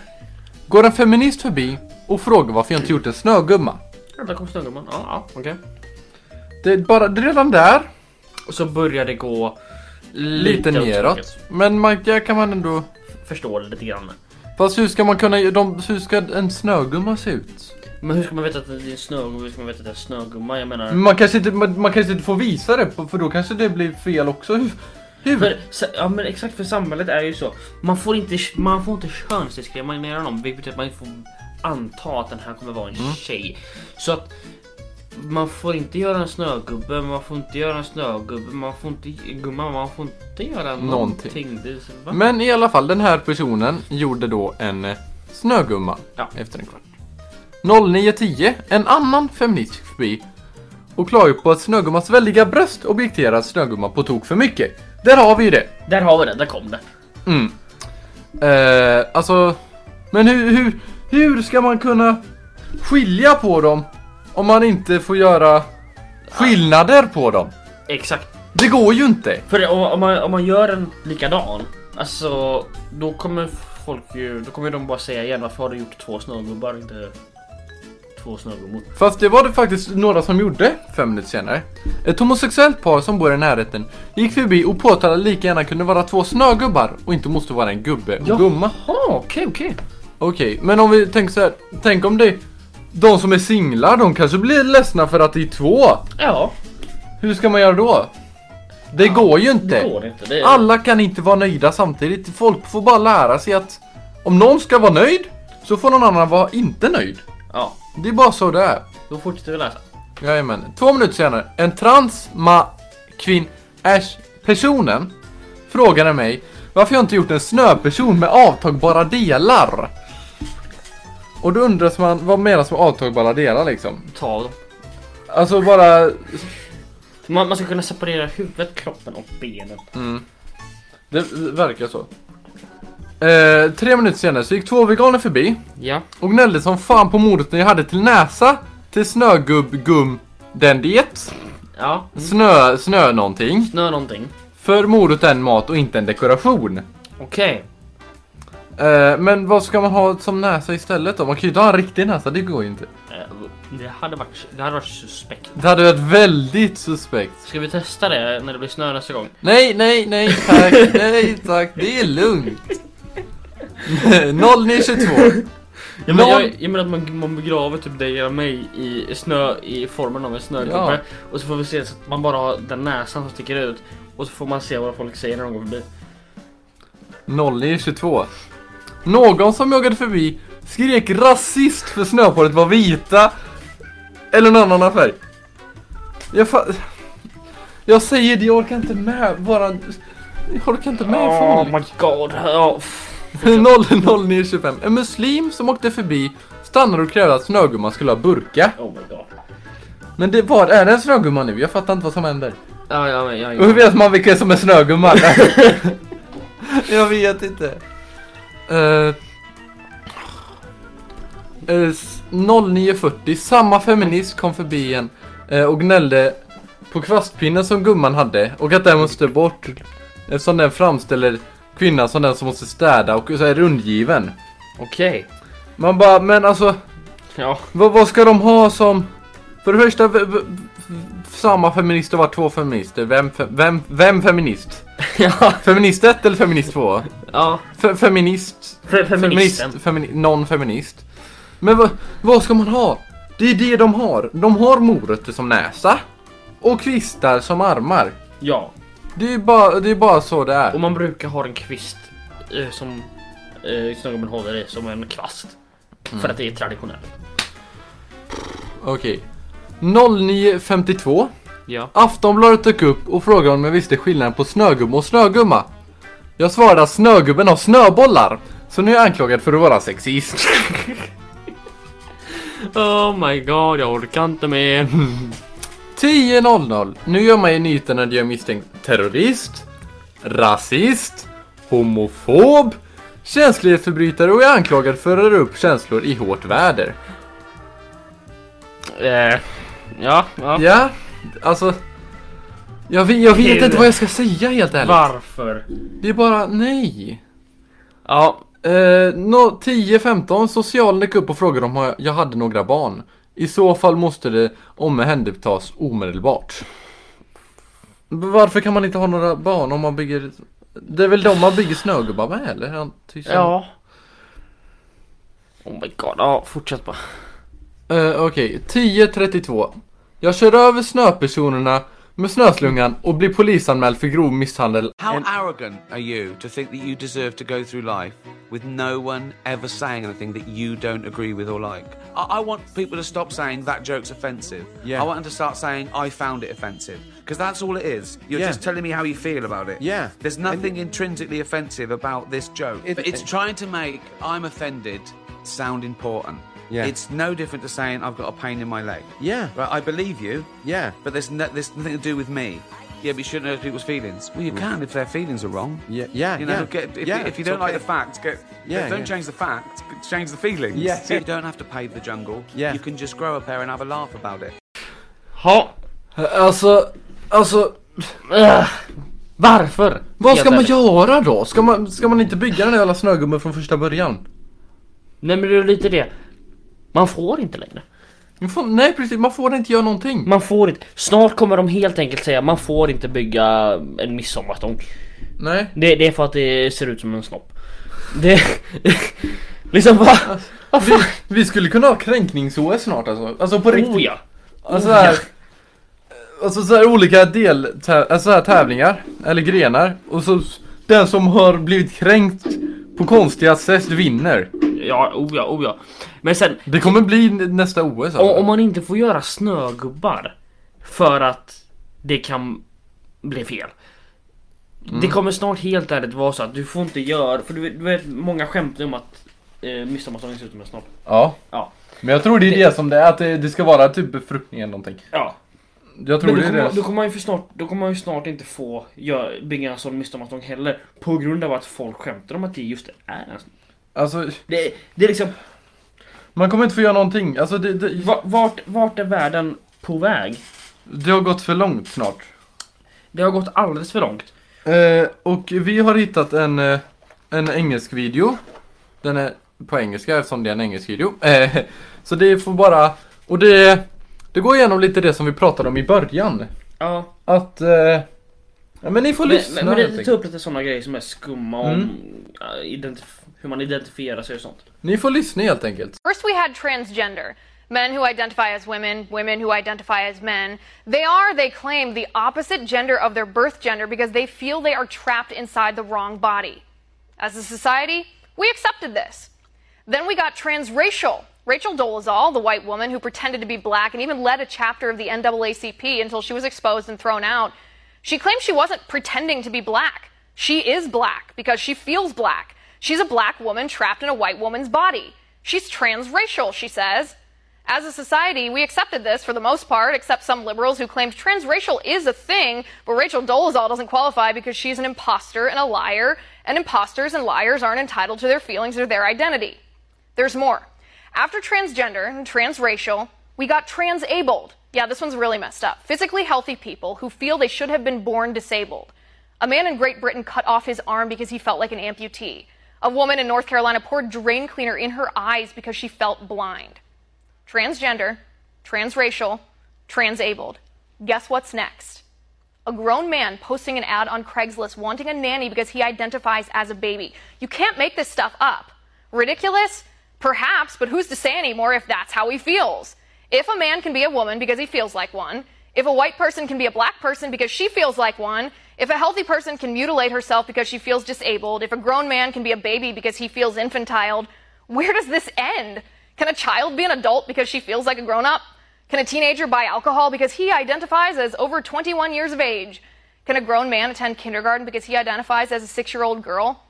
B: går en feminist förbi och frågar varför jag inte gjort en snögumma.
C: Ja, Där kom snögumman. Ja, ja okej.
B: Det är bara det är redan där
C: Och så börjar det gå
B: lite,
C: lite,
B: neråt.
C: åt
B: Men man där kan man ändå.
C: taket. Förstår det lite grann.
B: Fast hur ska man kunna? De, hur ska en snögumma se ut?
C: Men hur ska man veta att det är en snögubbe? Hur ska man veta att det är en snögumma? Jag menar...
B: Man kanske inte, man, man kanske inte får visa det för då kanske det blir fel också. Hur? hur?
C: För, sa- ja men exakt för samhället är ju så. Man får inte, man får inte könsdiskriminera någon vilket betyder att man får anta att den här kommer vara en
B: Mm.
C: tjej. Så att man får inte göra en snögubbe, man får inte göra en snögubbe, man får inte gumma, man får inte göra någonting. Det är så- va?
B: Men i alla fall, den här personen gjorde då en eh, snögumma
C: Ja.
B: efter en kvart. 09.10, en annan feminist gick förbi och klagade på att snögummans väldiga bröst objekterar snögumma på tok för mycket. Där har vi ju det!
C: Där har vi det, där kom det.
B: Mm. Eh, alltså, men hur, hur, hur ska man kunna skilja på dem om man inte får göra skillnader på dem?
C: Exakt.
B: Det går ju inte!
C: För om, om, man, om man gör en likadan, alltså då kommer folk ju, då kommer de bara säga igen varför har du gjort två snögubbar inte två snögummor?
B: Fast det var det faktiskt några som gjorde fem minuter senare. Ett homosexuellt par som bor i närheten gick förbi och påtalade att lika gärna kunde vara två snögubbar och inte måste vara en gubbe och gumma.
C: Jaha, okej okej.
B: Okej, men om vi tänker så här. Tänk om det de som är singlar, de kanske blir ledsna för att det är två.
C: Ja,
B: Hur ska man göra då? Det går ju inte.
C: det går inte. Det är...
B: Alla kan inte vara nöjda samtidigt. Folk får bara lära sig att om någon ska vara nöjd så får någon annan vara inte nöjd.
C: Ja,
B: Det är bara så det är.
C: då fortsätter vi läsa.
B: Jajamän. Två minuter senare, en transma-kvinn... Äsch... Personen frågade mig varför jag inte gjort en snöperson med avtagbara delar. Och då undras man vad menas med avtagbara delar liksom?
C: Ta av dem.
B: Alltså bara...
C: Så man, man ska kunna separera huvudet, kroppen och benen.
B: Det verkar så. Eh, tre minuter senare så gick två veganer förbi
C: Ja.
B: och gnällde som fan på mordet jag hade till näsa till snögubb-gum den det.
C: Ja.
B: Snö, snö någonting.
C: Snö någonting.
B: För mordet är en mat och inte en dekoration.
C: Okej.
B: Eh, men vad ska man ha som näsa istället då? Man kan ju inte ha en riktig näsa, det går ju inte.
C: Eh, Det hade varit, det hade varit suspekt.
B: Det hade varit väldigt suspekt.
C: Ska vi testa det när det blir snö nästa gång?
B: Nej, nej, nej, tack, nej, tack, det är lugnt. 0922.
C: Ja, men
B: Någon-
C: jag, jag menar att man, man begraver typ dig eller mig i snö i formen av en snögubbe och så får vi se så att man bara har den näsan som sticker ut och så får man se vad folk säger när de går förbi.
B: 0922. Någon som joggade förbi skrek rasist för snöpåret var vita. Eller någon annan färg. Jag fa- Jag säger det, jag orkar inte med bara... Jag orkar inte med
C: Oh
B: folk.
C: my god. Ja, pff.
B: 00925. En muslim som åkte förbi stannade och krävde att snögumman skulle ha burka.
C: oh my god.
B: Men det, var är en snögumma nu? Jag fattar inte vad som händer.
C: Ja, ja, men jag,
B: Och hur vet man vilka som är snögumman? jag vet inte. Uh, eh, 09.40, samma feminist kom förbi igen eh, och gnällde på kvastpinnen som gumman hade och att den måste bort eftersom den framställer kvinnan som den som måste städa och så är rundgiven.
C: Okej.
B: Man bara, men alltså
C: Ja.
B: vad, vad ska de ha som... För det första, v, v, v, samma feminist och var två feminister. Vem, fe, vem, vem feminist?
C: ja.
B: Feminist 1 eller feminist 2?
C: Ja.
B: Fe, feminist...
C: Fe- feministen.
B: Feminist, femini, non-feminist. Men vad, vad ska man ha? Det är det de har. De har morötter som näsa. Och kvistar som armar.
C: Ja.
B: Det är bara, det är bara så det
C: Och
B: är.
C: man brukar ha en kvist eh, som eh, snögubben håller i som en kvast. För att det är traditionellt.
B: Okej. 09.52.
C: Ja.
B: Aftonbladet dök upp och frågade om jag visste skillnaden på snögubbe och snögumma. Jag svarade att snögubben har snöbollar, så nu är jag anklagad för att vara sexist.
C: Oh my god, jag orkar inte med.
B: 10.00. Nu gör man i nyheterna det jag misstänkt terrorist, rasist, homofob, känslighetsförbrytare och är anklagad för att röra upp känslor i hårt väder.
C: Eh, ja, ja.
B: Ja, alltså... Jag vet, jag vet inte vad jag ska säga helt ärligt.
C: Varför?
B: Det är bara nej.
C: Ja,
B: Eh, no, 10-15, socialen gick upp och frågade om jag- jag hade några barn. I så fall måste det omhändertas omedelbart. Varför kan man inte ha några barn om man bygger... Det är väl de man bygger snögubbar med eller? Han tycker-
C: ja. Oh my god, ja fortsätt bara.
B: Eh, Okej, 10.32. Jag kör över snöpersonerna med snöslungan och blir polisanmäld för grov misshandel.
I: How arrogant are you to think that you deserve to go through life with no one ever saying anything that you don't agree with or like? I, I want people to stop saying that joke's offensive. Yeah. I want them to start saying I found it offensive because that's all it is. You're just telling me how you feel about it.
F: Yeah.
I: There's nothing intrinsically offensive about this joke. But it's trying to make I'm offended sound important.
F: Yeah.
I: It's no different to saying I've got a pain in my leg.
F: Yeah.
I: Right, I believe you.
F: Yeah.
I: But there's, no, there's nothing to do with me. Yeah, but you shouldn't hurt people's feelings. Well, you can if their feelings are wrong.
F: Yeah, yeah,
I: You know,
F: yeah.
I: get, if,
F: Yeah,
I: if you
F: it's
I: don't like
F: okay.
I: the facts, go,
F: Yeah,
I: don't
F: yeah.
I: change the facts, but change the feelings.
F: Yeah.
I: So you don't have to pave the jungle.
F: Yeah.
I: You can just grow a pair and have a laugh about it.
C: Ha.
B: Eh, Alltså, alltså...
C: Ugh. Varför?
B: Vad
C: Helt
B: ska man
C: ärligt.
B: göra då? Ska man, ska man inte bygga den där jävla snögubben från första början?
C: Nej men det är lite det. Man får inte längre.
B: Man får, nej precis, man får inte göra någonting.
C: Man får inte. Snart kommer de helt enkelt säga man får inte bygga en midsommarstång.
B: Nej.
C: Det, det är för att det ser ut som en snopp. Det... liksom va? Vad fan?
B: Vi skulle kunna ha kränknings-OS snart alltså. Alltså på riktigt.
C: Oh ja.
B: Alltså så här, Alltså så här olika del, alltså så här tävlingar, eller grenar. Och så s- den som har blivit kränkt på konstiga sätt vinner.
C: Ja, oh ja, oh ja. Men sen,
B: Det kommer bli n- nästa OS
C: Om,
B: alltså.
C: om man inte får göra snögubbar för att det kan bli fel. Det kommer snart helt ärligt vara så att du får inte göra, för du vet, du vet många skämtar om att eh, midsommarstången ser ut som en snopp.
B: Ja.
C: Ja.
B: Men jag tror det är det som det är, att det, det ska vara typ befruktning eller någonting.
C: Ja.
B: Jag tror
C: Men
B: det
C: då
B: är
C: kommer,
B: deras...
C: då, kommer man ju för snart, då kommer man ju snart inte få gör, bygga en sån midsommarstång heller. På grund av att folk skämtar om att det just är en sån.
B: Alltså,
C: Det, det är liksom,
B: man kommer inte få göra någonting. Alltså, det, det,
C: va- vart, vart är världen på väg?
B: det har gått för långt snart.
C: Det har gått alldeles för långt.
B: Eh, och vi har hittat en, eh, en engelsk video. Den är på engelska eftersom det är en engelsk video. Eh, så det får bara... Och det, det går igenom lite det som vi pratade om i början.
C: Ja,
B: Att... Eh, ja men ni får
C: men,
B: lyssna
C: men, men
B: helt
C: det
B: enkelt.
C: tar upp lite såna grejer som är skumma om ja, identif- hur man identifierar sig och sånt.
B: Ni får lyssna helt enkelt.
J: First, we had transgender men who identify as women, women who identify as men. They are, they claim, the opposite gender of their birth gender because they feel they are trapped inside the wrong body. As a society, we accepted this. Then we got transracial. Rachel Dolezal, the white woman who pretended to be black and even led a chapter of the NAACP until she was exposed and thrown out. She claims she wasn't pretending to be black. She is black because she feels black. She's a black woman trapped in a white woman's body. She's transracial, she says. As a society, we accepted this for the most part, except some liberals who claimed transracial is a thing, but Rachel Dolezal doesn't qualify because she's an imposter and a liar, and imposters and liars aren't entitled to their feelings or their identity. There's more. After transgender and transracial, we got transabled. Yeah, this one's really messed up. Physically healthy people who feel they should have been born disabled. A man in Great Britain cut off his arm because he felt like an amputee. A woman in North Carolina poured drain cleaner in her eyes because she felt blind. Transgender, transracial, transabled. Guess what's next? A grown man posting an ad on Craigslist wanting a nanny because he identifies as a baby. You can't make this stuff up. Ridiculous? Perhaps, but who's to say anymore if that's how he feels? If a man can be a woman because he feels like one, if a white person can be a black person because she feels like one, if a healthy person can mutilate herself because she feels disabled, if a grown man can be a baby because he feels infantile, where does this end? Can a child be an adult because she feels like a grown up? Can a teenager buy alcohol because he identifies as over 21 years of age? Can a grown man attend kindergarten because he identifies as a six year old girl?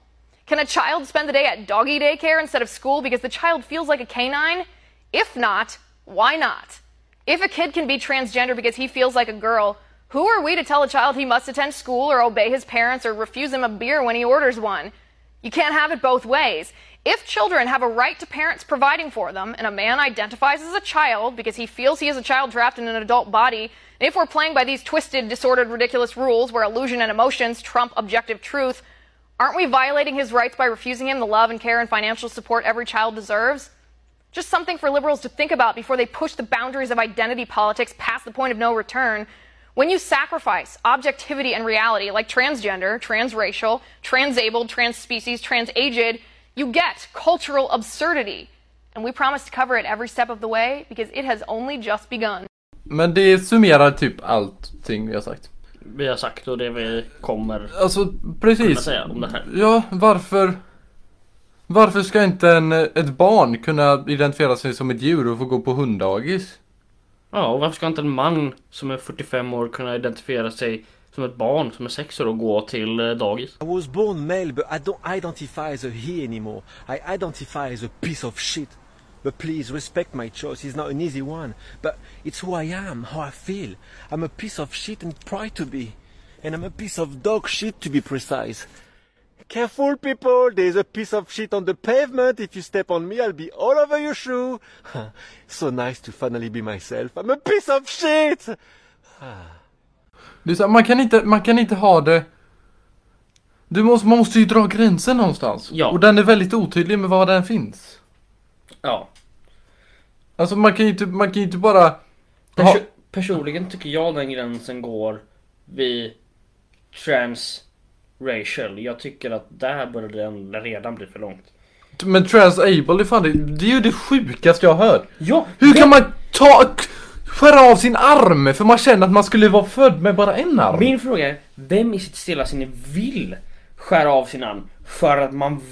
J: Can a child spend the day at doggy daycare instead of school because the child feels like a canine? If not, why not? If a kid can be transgender because he feels like a girl, who are we to tell a child he must attend school or obey his parents or refuse him a beer when he orders one? You can't have it both ways. If children have a right to parents providing for them, and a man identifies as a child because he feels he is a child trapped in an adult body, and if we're playing by these twisted, disordered, ridiculous rules where illusion and emotions trump objective truth, aren't we violating his rights by refusing him the love and care and financial support every child deserves? Just something for liberals to think about before they push the boundaries of identity politics past the point of no return. When you sacrifice objectivity and reality, like transgender, transracial, transabled, transspecies, transaged, you get cultural absurdity. And we promise to cover it every step of the way because it has only just begun.
B: Men det summerar typ allting vi har sagt.
C: Vi har sagt och det vi kommer
B: Alltså precis.
C: säga om det här.
B: Ja, varför... Varför ska inte en, ett barn kunna identifiera sig som ett djur och få gå på hunddagis?
C: Ja, och varför ska inte en man som är 45 år kunna identifiera sig som ett barn som är 6 år och gå till eh, dagis?
D: I was born male, but I don't identify as a he anymore. I identify as a piece of shit. But please respect my choice. It's not an easy one, but it's who I am, how I feel. I'm a piece of shit and proud to be. And I'm a piece of dog shit to be precise. Careful people, there's a piece of shit on the pavement. If you step on me, I'll be all over your shoe. so nice to finally be myself. I'm a piece of shit!
B: Det är så här, man, kan inte, man kan inte ha det... Du måste, man måste ju dra gränsen någonstans.
C: Ja.
B: Och den är väldigt otydlig med var den finns.
C: Ja.
B: Alltså man kan ju inte, man kan ju inte bara...
C: Perso-
B: Ha,
C: personligen tycker jag den gränsen går vid transracial. Jag tycker att där började den redan bli för långt.
B: men transable, är fan det, det är ju det sjukaste jag har hört.
C: Ja,
B: Hur kan man ta... k- Skära av sin arm för man känner att man skulle vara född med bara en arm.
C: Min fråga är, vem i sitt stilla sinne vill skära av sin arm för att man v-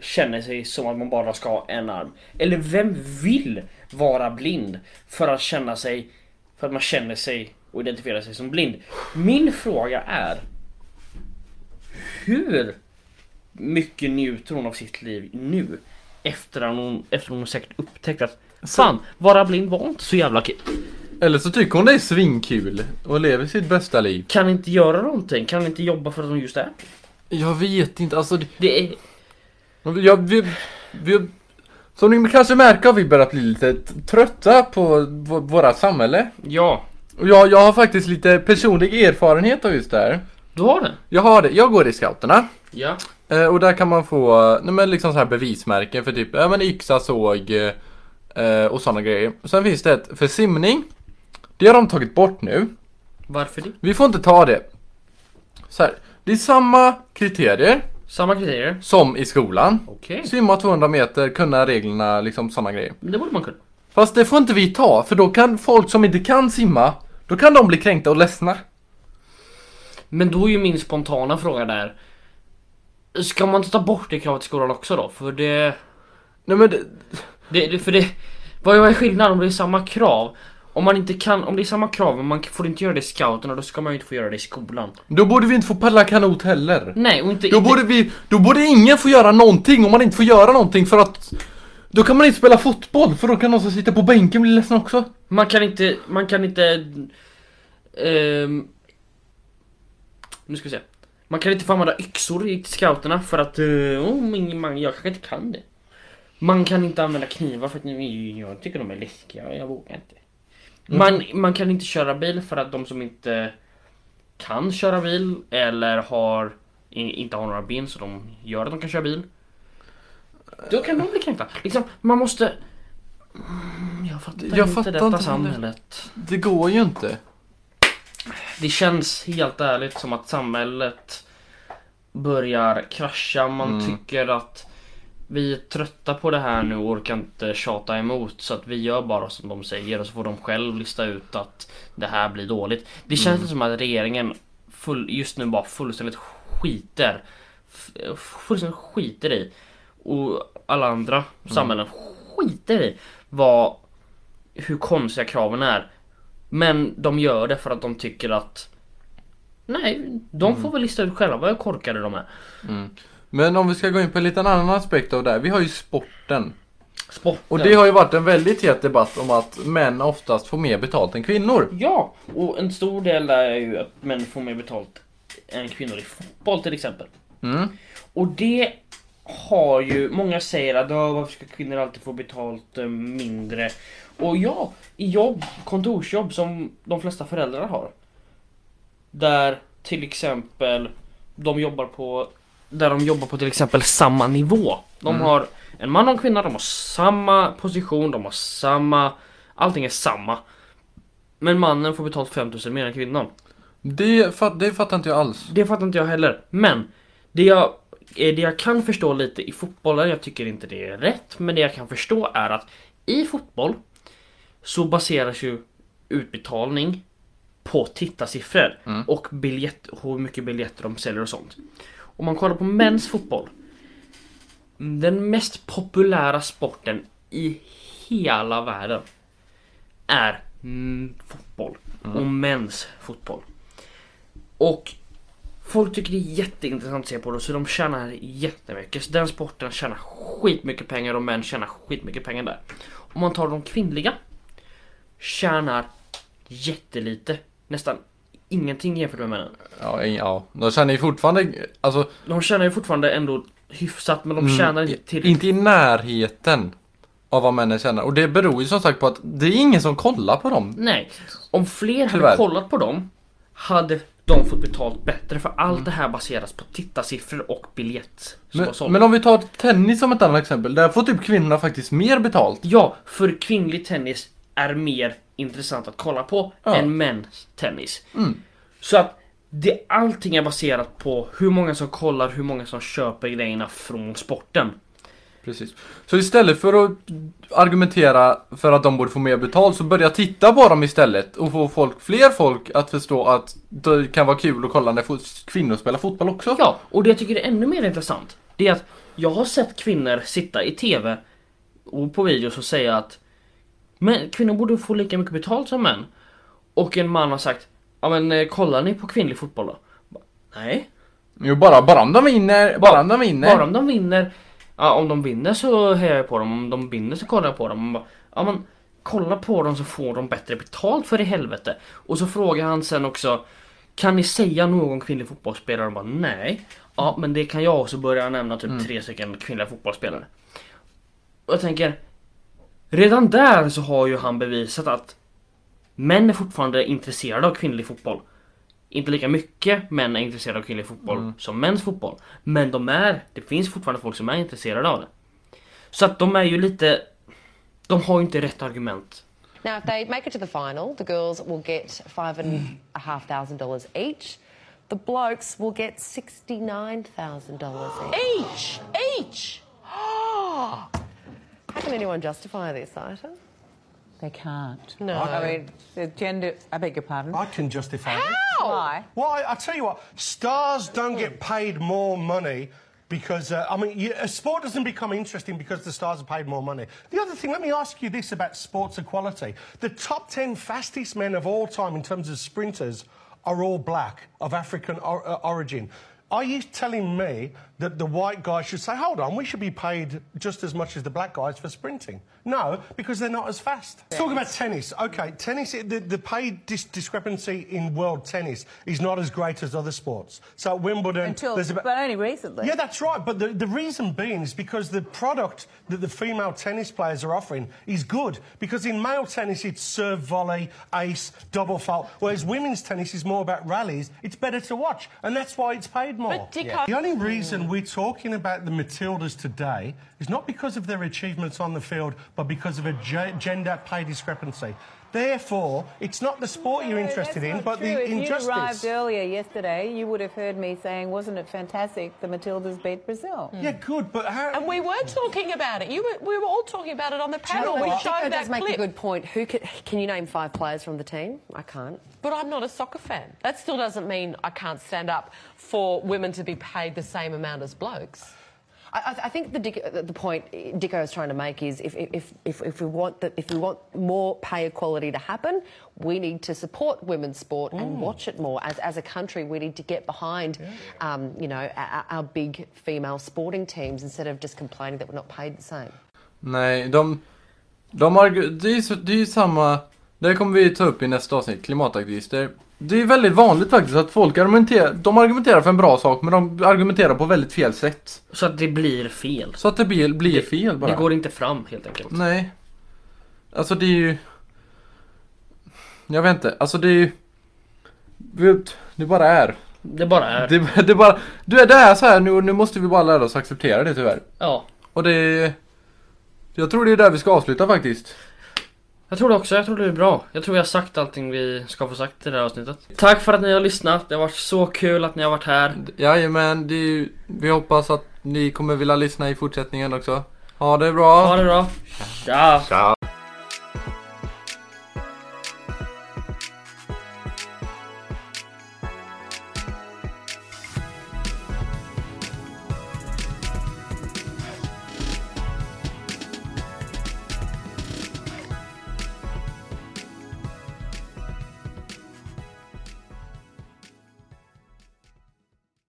C: känner sig som att man bara ska ha en arm? Eller vem vill vara blind för att känna sig, för att man känner sig och identifierar sig som blind? Min fråga är, hur mycket njuter hon av sitt liv nu? Efter att hon, efter att hon säkert upptäckt att Fan, vara blind var inte så jävla kul.
B: Eller så tycker hon det är svinkul och lever sitt bästa liv.
C: Kan inte göra någonting? Kan inte jobba för att de just är?
B: Jag vet inte, alltså det...
C: Det är...
B: Jag, vi, vi, som ni kanske märker har vi börjat bli lite trötta på v- våra samhälle.
C: Ja.
B: Och jag, jag har faktiskt lite personlig erfarenhet av just det här.
C: Du har det?
B: Jag har det, jag går i scouterna.
C: Ja.
B: Eh, och där kan man få eh, nej, men liksom så här bevismärken för typ ja, men yxa, såg eh, och sådana grejer. Sen finns det ett för simning. Det har de tagit bort nu.
C: Varför det?
B: Vi får inte ta det. Så här, det är samma kriterier
C: Samma kriterier?
B: som i skolan.
C: Okej.
B: Simma 200 meter, kunna reglerna, liksom sådana grejer.
C: Men Det borde man kunna.
B: Fast det får inte vi ta, för då kan folk som inte kan simma, då kan de bli kränkta och ledsna.
C: Men då är ju min spontana fråga där. Ska man inte ta bort det kravet i skolan också då? För det...
B: Nej men det,
C: det, det för det... Vad vad är skillnaden om det är samma krav? Om man inte kan... Om det är samma krav men man får inte göra det i scouterna då ska man ju inte få göra det i skolan.
B: då borde vi inte få paddla kanot heller.
C: Nej och inte...
B: Då
C: inte-
B: borde, vi, då borde ingen få göra någonting om man inte får göra någonting för att då kan man inte spela fotboll för då kan någon som sitter på bänken bli ledsen också.
C: Man kan inte, man kan inte... ehm, nu ska vi se. Man kan inte få använda yxor i scouterna för att... eh, oh, men man, jag kanske inte kan det. Man kan inte använda knivar för att nej, jag tycker de är läskiga, jag vågar inte.
B: Mm.
C: Man, man kan inte köra bil för att de som inte kan köra bil eller har, i- inte har några ben så de gör att de kan köra bil. Då kan de bli kränkta. Liksom, man måste... Mm, Jag fattar
B: Jag
C: inte
B: fattar
C: detta
B: inte heller.
C: samhället.
B: Det går ju inte.
C: Det känns helt ärligt som att samhället börjar krascha. Man
B: Mm.
C: tycker att vi är trötta på det här nu och orkar inte tjata emot så att vi gör bara som de säger och så får de själv lista ut att det här blir dåligt. Det känns som att regeringen full, just nu bara fullständigt skiter f- fullständigt skiter i och alla andra samhällen skiter i vad hur konstiga kraven är. Men de gör det för att de tycker att Nej, de får väl lista ut själva hur korkade de är.
B: Men om vi ska gå in på en liten annan aspekt av det här. Vi har ju sporten.
C: Sporten.
B: Och det har ju varit en väldigt het debatt om att män oftast får mer betalt än kvinnor.
C: Ja, och en stor del där är ju att män får mer betalt än kvinnor i fotboll till exempel.
B: Mm.
C: Och det har ju, många säger att "Åh, varför ska kvinnor alltid få betalt eh, mindre? Och ja, i jobb, kontorsjobb som de flesta föräldrar har. Där till exempel de jobbar på där de jobbar på till exempel samma nivå. De har en man och en kvinna, de har samma position, de har samma... Allting är samma. Men mannen får betalt 5000 mer än kvinnan.
B: Det, fat, det fattar inte jag alls.
C: Det fattar inte jag heller. Men det jag, eh, det jag kan förstå lite i fotbollen, jag tycker inte det är rätt, men det jag kan förstå är att i fotboll så baseras ju utbetalning på tittarsiffror och biljett, hur mycket biljetter de säljer och sånt. Om man kollar på mäns fotboll. Den mest populära sporten i hela världen är mm, fotboll och mäns fotboll. Och Folk tycker det är jätteintressant att se på det så de tjänar jättemycket. Så den sporten tjänar skitmycket pengar och män tjänar skitmycket pengar där. Om man tar de kvinnliga tjänar jättelite. Nästan ingenting jämfört med männen.
B: Ja, ing- ja. de känner ju fortfarande, alltså,
C: De tjänar ju fortfarande ändå hyfsat men de tjänar inte tillräckligt.
B: inte Mm, i närheten av vad männen känner. Och det beror ju som sagt på att det är ingen som kollar på dem.
C: Nej, om fler hade
B: Tyvärr.
C: kollat på dem hade de fått betalt bättre för allt det här baseras på tittarsiffror och biljett. som
B: Mm. Men,
C: har sålt.
B: men om vi tar tennis som ett annat exempel, där får typ kvinnorna faktiskt mer betalt.
C: Ja, för kvinnlig tennis är mer intressant att kolla på
B: Ja.
C: än mäns tennis. Så att det, allting är baserat på hur många som kollar, hur många som köper grejerna från sporten.
B: Precis. Så istället för att argumentera för att de borde få mer betalt så börja titta på dem istället och få folk, fler folk att förstå att det kan vara kul att kolla när fo- kvinnor spelar fotboll också.
C: Ja, och det jag tycker är ännu mer intressant det är att jag har sett kvinnor sitta i TV och på videos och säga att men kvinnor borde få lika mycket betalt som män. Och en man har sagt ja men eh, kollar ni på kvinnlig fotboll då? Nej.
B: Jo, bara, bara om de vinner, bara om de vinner.
C: Bara om de vinner. Ja, om de vinner så hejar jag på dem. Om de vinner så kollar jag på dem. Man bara, Ja, men kolla på dem så får de bättre betalt för i helvete. Och så frågar han sen också, kan ni säga någon kvinnlig fotbollsspelare? De bara nej. Ja men det kan jag också börja nämna
B: Mm.
C: typ tre stycken kvinnliga fotbollsspelare. Och jag tänker, redan där så har ju han bevisat att män är fortfarande intresserade av kvinnlig fotboll. Inte lika mycket män är intresserade av kvinnlig fotboll
B: Mm.
C: som mäns fotboll. Men de är, det finns fortfarande folk som är intresserade av det. Så att de är ju lite, de har ju inte rätt argument.
K: Now, if they make it to the final, the girls will get five and a half thousand dollars each. The blokes will get sixty-nine thousand dollars each. Each, each. How can anyone justify this, Ita?
G: They can't.
K: No.
G: I mean, the gender. I beg your pardon.
E: I can justify
G: How? Why?
E: Why? I tell you what, stars don't get paid more money because, uh, I mean, you, a sport doesn't become interesting because the stars are paid more money. The other thing, let me ask you this about sports equality. The top 10 fastest men of all time in terms of sprinters are all black, of African or, uh, origin. Are you telling me that the white guys should say, hold on, we should be paid just as much as the black guys for sprinting? No, because they're not as fast. Talk about tennis. Okay, tennis, the, the pay dis- discrepancy in world tennis is not as great as other sports. So at Wimbledon,
G: Until,
E: there's about.
G: but only recently.
E: Yeah, that's right. But the, the reason being is because the product that the female tennis players are offering is good. Because in male tennis, it's serve volley, ace, double fault. Whereas women's tennis is more about rallies. It's better to watch. And that's why it's paid more.
J: But Dick, Yeah.
E: The only reason we're talking about the Matildas today is not because of their achievements on the field, but because of a ge- gender pay discrepancy. Therefore, it's not the sport you're interested in, but
G: True,
E: the
G: if
E: injustice.
G: you arrived earlier yesterday, you would have heard me saying, "Wasn't it fantastic? The Matildas beat Brazil."
E: Yeah, good, but how?
G: And
K: we were talking about it. You were, we were all talking about it on the
G: panel. We showed
K: Chico does
G: that
K: make
G: clip.
K: a good point. Who can, can you name five players from the team? I can't. But I'm not a soccer fan. That still doesn't mean I can't stand up for women to be paid the same amount as blokes. I, I- I think the, Dick, the point Dicko is trying to make is if, if, if, if we want the, if we want more pay equality to happen, we need to support women's sport and watch it more. As, as a country, we need to get behind, um, you know, our, our big female sporting teams instead of just complaining that we're not paid the same.
B: Nej, de... de argu- det, är ju så, det är ju samma... Det här kommer vi ta upp i nästa avsnitt, klimataktivister. Det är väldigt vanligt faktiskt att folk argumenterar, de argumenterar för en bra sak men de argumenterar på väldigt fel sätt.
C: Så att det blir fel.
B: Så att det blir, blir fel bara.
C: Det går inte fram helt enkelt.
B: Nej. Alltså det är ju... Jag vet inte, alltså det är ju... Vet, Det bara är.
C: Det bara är.
B: Det, det bara... Du är det är så här nu, nu måste vi bara lära oss acceptera det tyvärr.
C: Ja.
B: Och det... Jag tror det är där vi ska avsluta faktiskt.
C: Jag tror det också, jag tror det är bra. Jag tror vi har sagt allting vi ska få sagt i det här avsnittet. Tack för att ni har lyssnat, det har varit så kul att ni har varit här.
B: Jajamän, det är ju, vi hoppas att ni kommer vilja lyssna i fortsättningen också. Ha det bra! Ha
C: det bra! Ciao! Ciao!